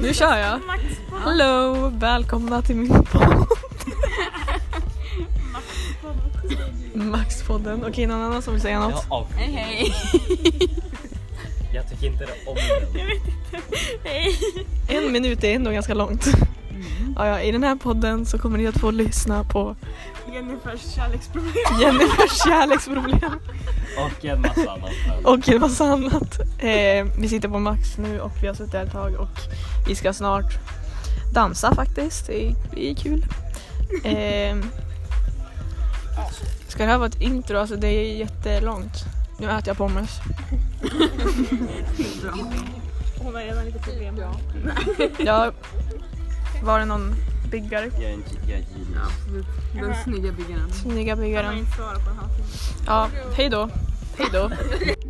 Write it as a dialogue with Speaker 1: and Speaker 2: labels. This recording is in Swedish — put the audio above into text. Speaker 1: Nu kör jag. Hello, välkomna till min podd. Maxpodden. Okej, någon annan som vill säga något?
Speaker 2: Jag avskyr
Speaker 3: Hej hej!
Speaker 2: den. Jag tycker inte om den.
Speaker 1: En minut är ändå ganska långt. Ja, ja, I den här podden så kommer ni att få lyssna på
Speaker 3: Jennifers kärleksproblem.
Speaker 1: Jennifers kärleksproblem
Speaker 2: Och en massa annat.
Speaker 1: och en massa annat. Eh, vi sitter på Max nu och vi har suttit här ett tag och vi ska snart dansa faktiskt. Det blir kul. Eh, ska det här vara ett intro? Alltså det är jättelångt. Nu äter jag pommes.
Speaker 3: Hon har redan lite problem. Typ, Ja.
Speaker 1: Jag... Var det någon byggare?
Speaker 2: Jag är en jag är genius.
Speaker 4: Den snygga byggaren.
Speaker 1: Snygga byggaren.
Speaker 3: inte svara på en halvtimme.
Speaker 1: Ja, hej då. Hej då.